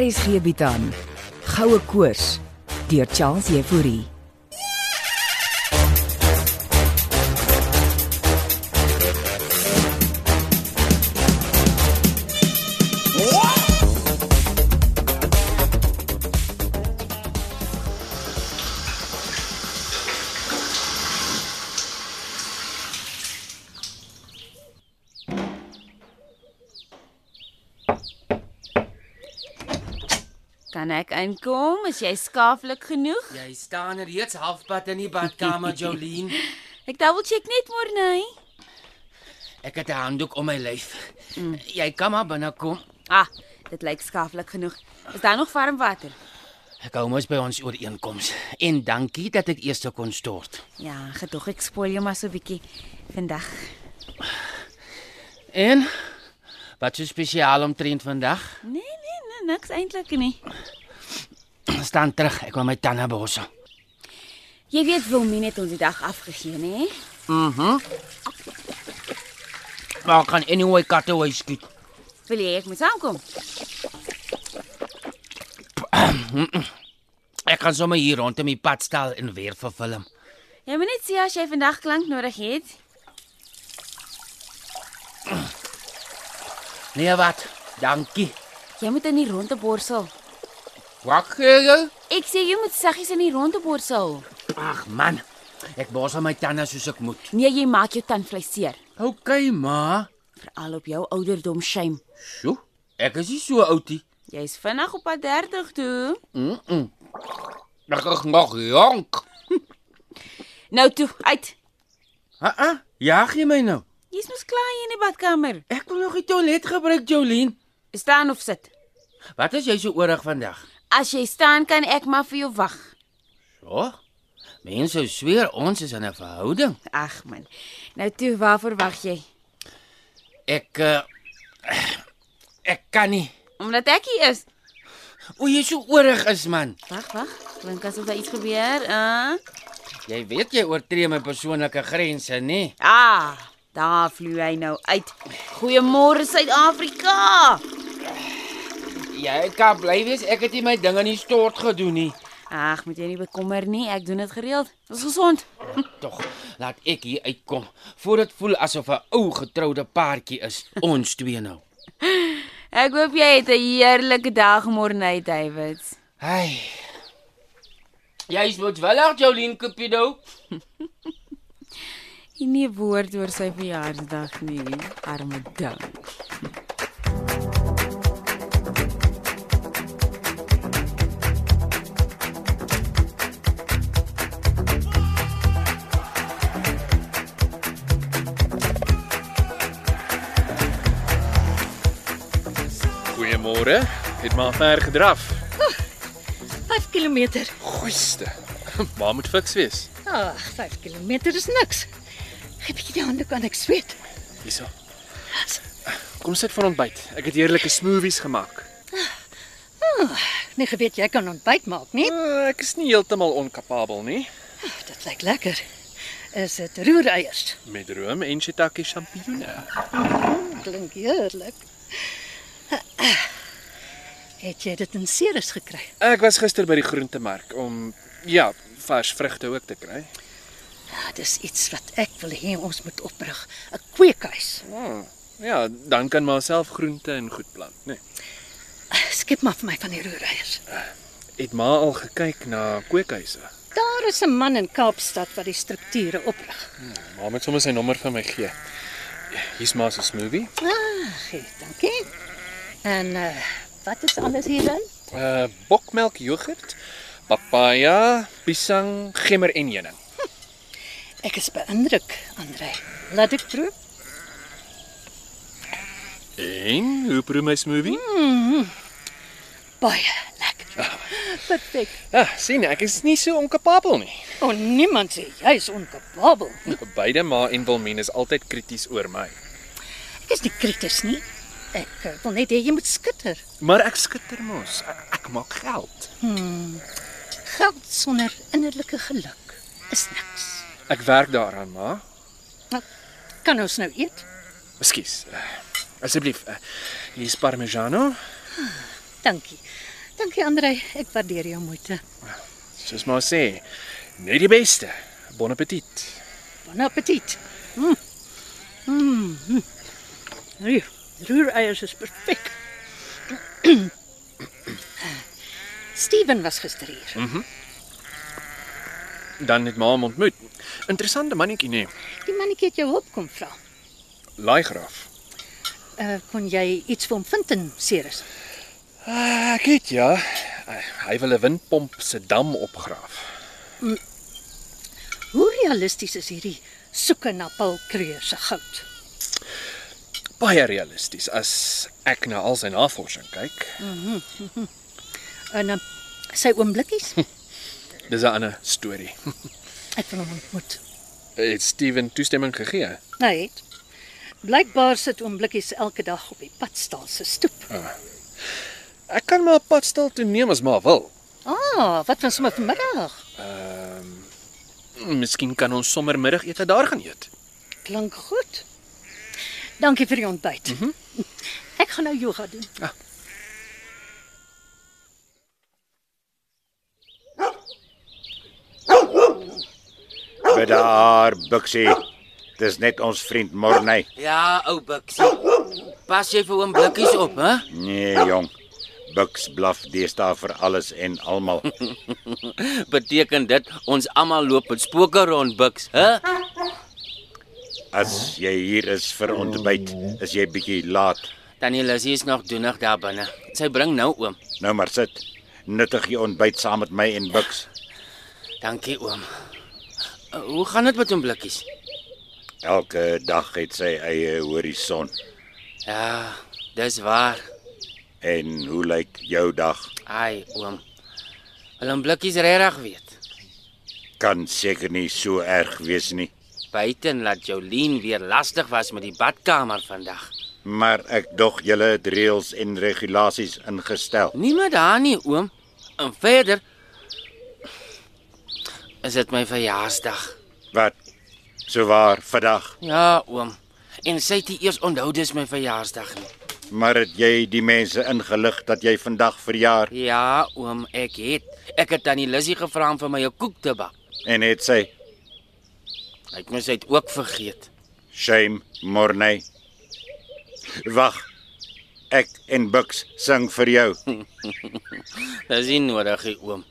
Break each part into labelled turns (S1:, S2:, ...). S1: RSG bied aan Goue Koors deur Charles Euphorie.
S2: Kan ek inkom? Is jy skaaflik genoeg?
S3: Jy staan er reeds halfpad in die badkamer, Jolene.
S2: Ek double check net Morney.
S3: Ek het 'n handdoek om my lyf. Jy kan maar binne kom.
S2: Ah, dit lyk skaaflik genoeg. Is daar nog warm water?
S3: Ek hou mos by ons ooreenkoms. En dankie dat ek eers kon stort.
S2: Ja, gedog ek spoil jou maar so bietjie vandag.
S3: En wat so spesiaal omtrent vandag?
S2: Nee, nee, nee niks eintlik nie.
S3: Staan terug, ek wil my tande borsel.
S2: Jy weet Wilmien het ons die dag afgegee, nee? nê?
S3: Maar ek gaan anyway katte hoe skiet.
S2: Wil jy ek moet saamkom?
S3: Ek gaan sommer hier rondom die pad stel en weer vir film.
S2: Jy moet net sê as jy vandag klank nodig het.
S3: Nee wat? Dankie.
S2: Jy moet in die ronde borsel.
S3: Wat gee jy?
S2: Ek sê jy moet saggies in die ronde borsel.
S3: Ag man. Ek borsel my tande soos ek moet.
S2: Nee, jy maak jou tandvleis seer,
S3: OK, ma.
S2: veral op jou ouderdom shame.
S3: Sjoe, ek is nie so oudie.
S2: Jy's vinnig op pad 30 toe.
S3: Ek is nog jonk.
S2: Nou toe, uit.
S3: Ha, ha, jaag jy my nou?
S2: Jy's mos klaar hier in die badkamer.
S3: Ek wil nog die toilet gebruik, Jolien.
S2: Staan of sit.
S3: Wat is jy so oorig vandag?
S2: As jy staan kan ek maar vir jou wag.
S3: So? Mense sou sweer ons is in 'n verhouding.
S2: Ag man. Nou toe, waarvoor wag jy?
S3: Ek uh, ek kan nie.
S2: Omdat ek hier is.
S3: O, jy is so oorig is man.
S2: Wag, wag. Klink asof daar iets gebeur. Uh.
S3: Jy weet jy oortree my persoonlike grense, nê?
S2: Ah, daar vloei hy nou uit. Goeiemôre Suid-Afrika.
S3: Jy kan bly wees ek het nie my ding in die stort gedoen nie.
S2: Ag, moet jy nie bekommer nie. Ek doen dit gereeld. Dis gesond.
S3: Tog, laat ek hier uitkom voor dit voel asof 'n ou getroude paartjie is, ons twee nou.
S2: Ek hoop jy het 'n heerlike dag môre, Nate Davids.
S3: Ai. Jy is moedwillig, Jolien Cupido.
S2: Nie 'n woord oor sy verjaarsdag nie, arme ding.
S4: Goeiemôre. Het maar ver gedraf.
S5: 5 km.
S4: Goeieste. Maar moet fiks wees.
S5: Ag, 5 km Ah, is niks. Gee bietjie die hande kan ek sweet.
S4: Hierso. Kom sit vir ontbyt. Ek het heerlike smoothies gemaak.
S5: Nee, geweet jy kan ontbyt maak, nie?
S4: Uh, ek is nie heeltemal onkapabel nie.
S5: Dit lyk lekker. Is dit roereiers?
S4: Met room en shiitake champignoene.
S5: Klink heerlik. Het jy dit in Ceres gekry?
S4: Ek was gister by die groentemark om ja, vars vrugte ook te kry.
S5: Ja, dis iets wat ek wil hê ons moet oprig. 'n Kweekhuis.
S4: Oh, ja, dan kan maar self groente en goed plant, né? Nee.
S5: Skep maar vir my van die roereiers.
S4: Het ma al gekyk na kweekhuise?
S5: Daar is 'n man in Kaapstad wat die strukture oprig.
S4: Ma moet sommer sy nommer vir my gee. Hier's ma se smoothie.
S5: Ag, Ah, gee, dankie. En uh, wat is alles hier dan?
S4: Uh bokmelk jogurt, papaya, pisang, gemmer en heuning.
S5: Ek is beïndruk, Andre. Laat ek proe.
S4: En hoe proe my smoothie?
S5: Baie lekker. Perfek.
S4: Ja, ah, sien ek is nie so onkapabel nie.
S5: O, niemand sê jy is onkapabel. nie.
S4: Beide ma en Wilmien is altyd krities oor my.
S5: Ek is nie krities nie. Ek eh, wil net hê jy moet skitter.
S4: Maar ek skitter mos. Ek, ek maak geld.
S5: Geld sonder innerlike geluk is niks.
S4: Ek werk daaraan, ma.
S5: Kan ons nou eet?
S4: eh, Ekskuus. Uh, asseblief. Uh, hier is parmigiano.
S5: Dankie. Dankie Andrej, ek waardeer jou moeite.
S4: Soos maar sê, net die beste. Bon appetit.
S5: Bon appetit. Mm. Mm. Hier, Mm. roereiers is perfek. Steven was gister hier.
S4: Dan het ma hom ontmoet. Interessante mannetjie nee.
S5: Die mannetjie het jou hulp kom vra.
S4: Laai graaf.
S5: Uh, kon jy iets vir hom vind in Ceres?
S4: Ah, ek weet ja. Hy wil 'n windpomp se dam opgraaf.
S5: Hoe realisties is hierdie soeke na Paul Creer se goud?
S4: Baie realisties as ek na al sy navorsing kyk.
S5: En uh, sy oomblikkies?
S4: Dis 'n ander storie.
S5: Ek wil hom ontmoet.
S4: Het Steven toestemming gegee?
S5: Hy het blykbaar sit oomblikkies elke dag op die padstal se stoep.
S4: Ek kan maar 'n padstal toe neem as maar wil.
S5: Ah, wat van sommer vanmiddag?
S4: Miskien kan ons sommer middagete daar gaan eet.
S5: Klink goed. Dankie vir die ontbyt. Mm -hmm. Ek gaan nou yoga doen.
S6: Bedaar, Bixie. Dis net ons vriend Morney.
S3: Ja, ou biksie. Pas jy vir oom blikkies op, hè?
S6: Nee, jong. Bix blaf deesdae vir alles en almal.
S3: Beteken dit ons almal loop met spooke rond, biks, hè?
S6: As jy hier is vir ontbyt, is jy bietjie laat.
S3: Tannie Lizzie is nog doenig daar binne. Sy bring nou oom.
S6: Nou maar sit. Nuttig jy ontbyt saam met my en Bix.
S3: Dankie oom. Uh, Hoe gaan dit met oom blikkies?
S6: Elke dag het sy eie horison.
S3: Ja, dis waar.
S6: En hoe lyk jou dag?
S3: Ai, oom. Wil oom blikkies regtig weet?
S6: Kan seker nie so erg wees nie.
S3: Buiten laat Jolien weer lastig was met die badkamer vandag.
S6: Maar ek dog julle het reëls en regulasies ingestel.
S3: Nie met haar nie, oom. En verder is dit my verjaarsdag.
S6: Wat? So waar vandag,
S3: Ja, oom. En sy het nie eers onthou dis my verjaarsdag nie.
S6: maar het jy die mense ingelig dat jy vandag verjaar?
S3: Ja, oom, ek het. Ek het tannie Lissy gevra om vir my 'n koek te bak.
S6: En het sy
S3: Ek moes dit ook vergeet.
S6: Shame Morney. Wag. Ek en Bux sing vir jou.
S3: Dis nie nodig, nie, oom.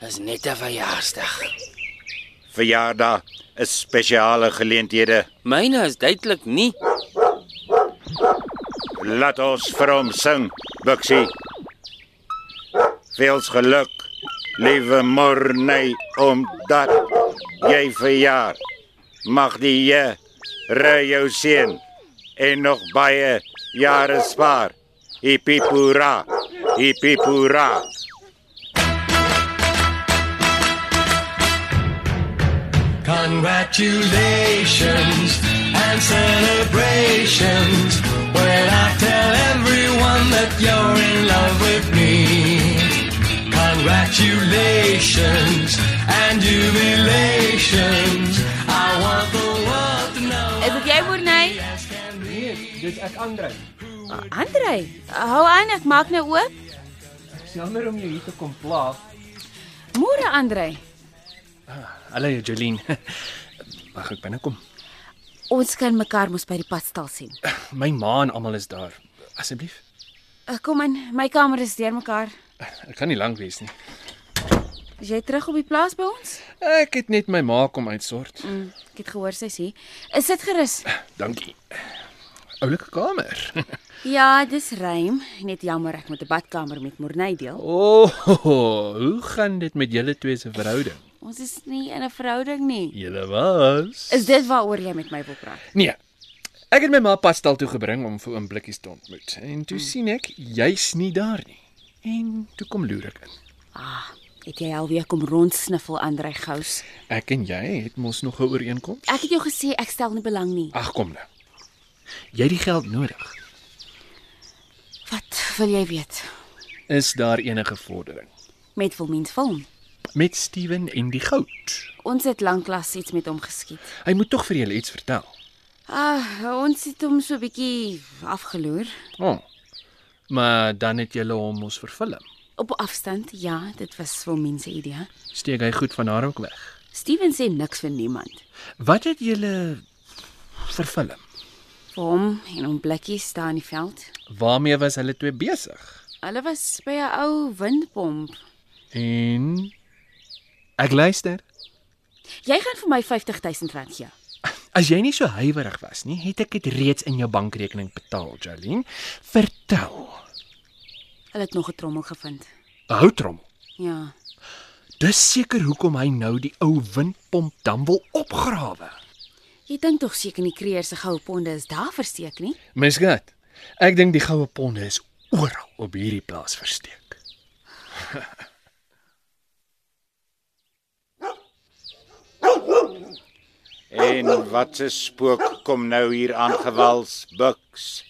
S3: Dis net 'n verjaarsdag.
S6: Verjaardag is spesiale geleenthede.
S3: Myne is duidelik nie.
S6: Laat ons vir hom sing, Buxie. Veels geluk, liewe Morney, omdat jy verjaar. Mag die Here jou seën en nog baie jare spaar. Hipipura. Hipipura.
S7: Congratulations and celebrations when I tell everyone that you're in love with me. Congratulations and jubilations. I want the world to know.
S2: Is dit jy Morney?
S8: Nee, dis ek Andre.
S2: Andrej, Ah, hou aan, ek maak nou oop.
S8: Dis jammer om jou hier te kom pla.
S2: Môre Andrej.
S4: Hallo Jolien. Mag ek binnekom?
S2: Ons kan mekaar mos by die padstal sien.
S4: My ma en almal is daar. Asseblief.
S2: Eh, Kom in, my kamer is deur mekaar.
S4: Ek kan nie lank wees nie.
S2: Is jy terug op die plaas by ons?
S4: Ek het net my ma kom uitsort.
S2: Mm, ek het gehoor sy's hier. Is dit gerus?
S4: Dankie. Oulike kamer.
S2: Ja, dis ruim. Net jammer ek moet 'n badkamer met Morney deel.
S4: O, oh, hoe gaan dit met julle twee se verhouding?
S2: Ons is nie in 'n verhouding nie.
S4: Julle was.
S2: Is dit waaroor jy met my wil praat?
S4: Nee. Ek het my ma pastel toe gebring om vir oom Blikkies te ontmoet. En toe sien ek jy's nie daar nie. En toe kom loer ek in.
S2: Ah, het jy alweer kom rondsniffel Andrej Gous?
S4: Ek en jy het mos nog 'n ooreenkoms.
S2: Ek het jou gesê ek stel nie belang nie.
S4: Ag kom nou. Jy het die geld nodig.
S2: Wat wil jy weet?
S4: Is daar enige vordering
S2: Met Wilmien Film.
S4: met Steven en die goud?
S2: Ons het lanklaas iets met hom geskiet.
S4: Hy moet tog vir julle iets vertel.
S2: Ah, ons het hom so 'n bietjie afgeloer.
S4: O. Oh, Maar dan het julle hom mos vervilm.
S2: Op 'n afstand, ja, dit was vir mense idee.
S4: Steek hy goed van haar ook weg.
S2: Steven sê niks vir niemand.
S4: Wat het julle vervilm?
S2: Vir hom en hom blikkies staan in die veld.
S4: Waarmee was hulle twee besig?
S2: Hulle was by 'n ou windpomp.
S4: En ek luister.
S2: Jy gaan vir my R50000 rand gee.
S4: As jy nie so huiwerig was nie, het ek dit reeds in jou bankrekening betaal, Jolene. Vertel.
S2: Hulle het nog 'n trommel gevind.
S4: 'n Houtrom.
S2: Ja.
S4: Dis seker hoekom hy nou die ou windpomp dam wil opgrawe.
S2: Jy dink tog seker nie kreer se goue ponde is daar verseker nie.
S4: Misgat. Ek dink die goue ponde is oral op hierdie plaas versteek.
S6: En wat 'n spook kom nou hier aangewals, Buks.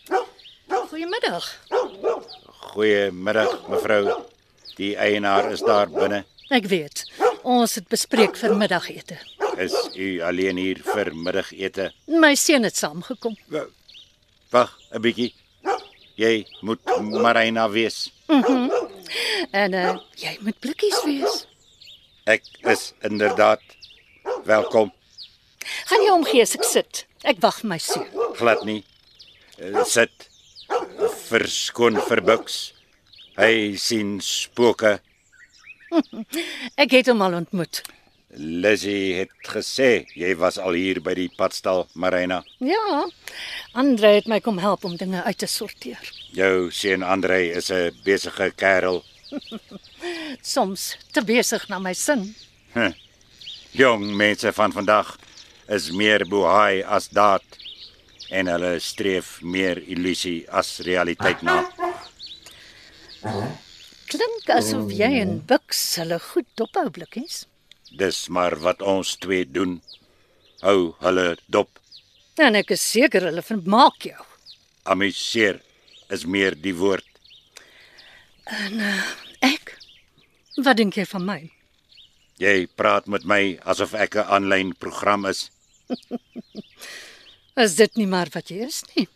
S5: Oh, Goeiemiddag.
S6: Goeiemiddag mevrou. Die eienaar is daar binne.
S5: Ek weet. Ons het bespreek vir middagete.
S6: Is u alleen hier vir middagete?
S5: My seun het saamgekom.
S6: Wag 'n bietjie. Jy moet Marina wees.
S5: En uh jy moet blikkies wees.
S6: Ek is inderdaad welkom.
S5: Gaan jy omgee as ek sit? Ek wag my seun.
S6: Glad nie. Eh, Sit. Verskoon vir Buks. Hy sien spooke.
S5: Ek het hom al ontmoet.
S6: Lizzie het gesê jy was al hier by die padstal, Marina.
S5: Ja. Andre het my kom help om dinge uit te sorteer.
S6: Jou seun Andrei is 'n besige kerel.
S5: Soms te besig na my sin.
S6: Jong mense van vandag is meer bohaai as daad en hulle streef meer illusie as realiteit na.
S5: Klink asof jy en Bux hulle goed dophou blikkies.
S6: Dis maar wat ons twee doen. Hou hulle dop.
S5: En ek is seker hulle vermaak jou.
S6: Amuseer is meer die woord.
S5: Ek? Wat dink jy van my?
S6: Jy praat met my asof ek 'n aanlyn program is.
S5: Is dit nie maar wat jy is nie?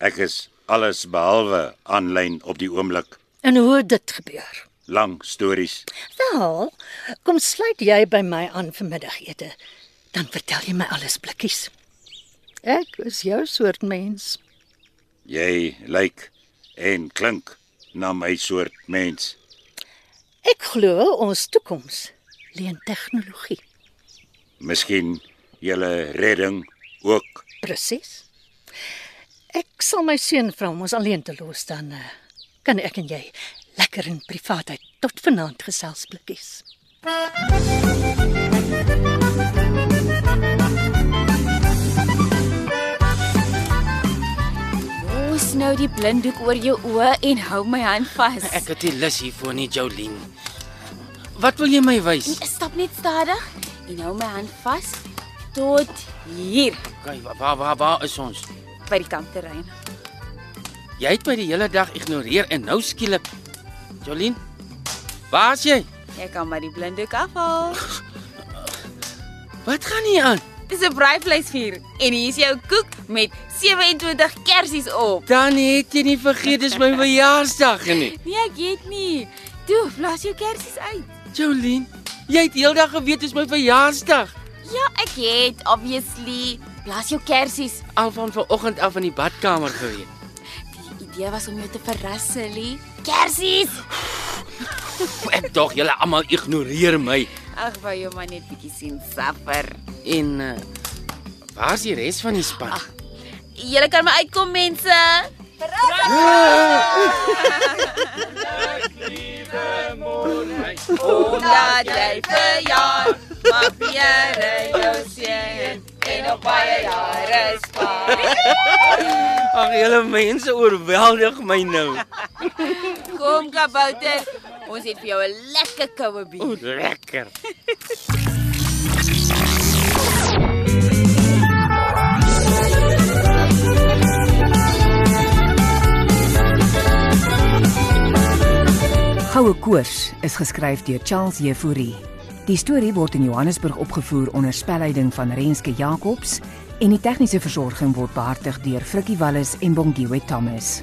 S6: Ek is alles behalwe aanlyn op die oomblik.
S5: En hoe het dit gebeur?
S6: Lang stories.
S5: Wel, kom sluit jy by my aan vir middagete. Dan vertel jy my alles blikkies. Ek is jou soort mens.
S6: Jy lyk en klink na my soort mens.
S5: Ek glo ons toekoms lê in tegnologie.
S6: Miskien julle redding ook.
S5: Presies. Ek sal my seun vra om ons alleen te los dan eh, kan ek en jy lekker in privaatheid tot vanaand gesels blikkies.
S2: Ons nou die blinddoek oor jou oë en hou my hand vas.
S3: Ek het die lus hier voor nie, Jolene. Wat wil jy my wys?
S2: stap net stadig en hou my hand vas tot hier
S3: Okay, wa- waar waar waar is ons?
S2: by die kampterrein.
S3: Jy het my die hele dag ignoreer en nou skielik Jolene, waar is jy?
S2: Jy kan maar die blinddoek afhaal.
S3: Wat gaan hier aan?
S2: Dis 'n braaivleisvuur en hier is jou koek met 27 kersies op.
S3: Dan het jy nie vergeet dis my verjaarsdag nie.
S2: Nee, ek weet nie. Toe, blaas jou kersies uit.
S3: Jolene, jy het heeldag geweet dis my verjaarsdag.
S2: Ja, ek het obviously blaas jou kersies.
S3: Al van vanoggend af in die badkamer geweet.
S2: Die idee was om jou te verras, Silly. Kersies.
S3: Ek dog julle almal ignoreer my.
S2: Ag, wou jou maar net bietjie sien suffer.
S3: En uh, waar is die res van die span? Ach,
S2: Julle kan my uitkom, mense. Verras! Laat jy vir jaar, maar Pierre jou sien en op baie jare spaar.
S3: Ag julle mense oorweldig my nou.
S2: Kom kabouter, ons het vir jou 'n lekker koue bier.
S3: O, lekker.
S1: Goue Koors is geskryf deur Charles Jefouri. Die storie word in Johannesburg opgevoer onder spelleiding van Renske Jacobs en die tegniese versorging word behartig deur Frikkie Wallis en Bongwe Thomas.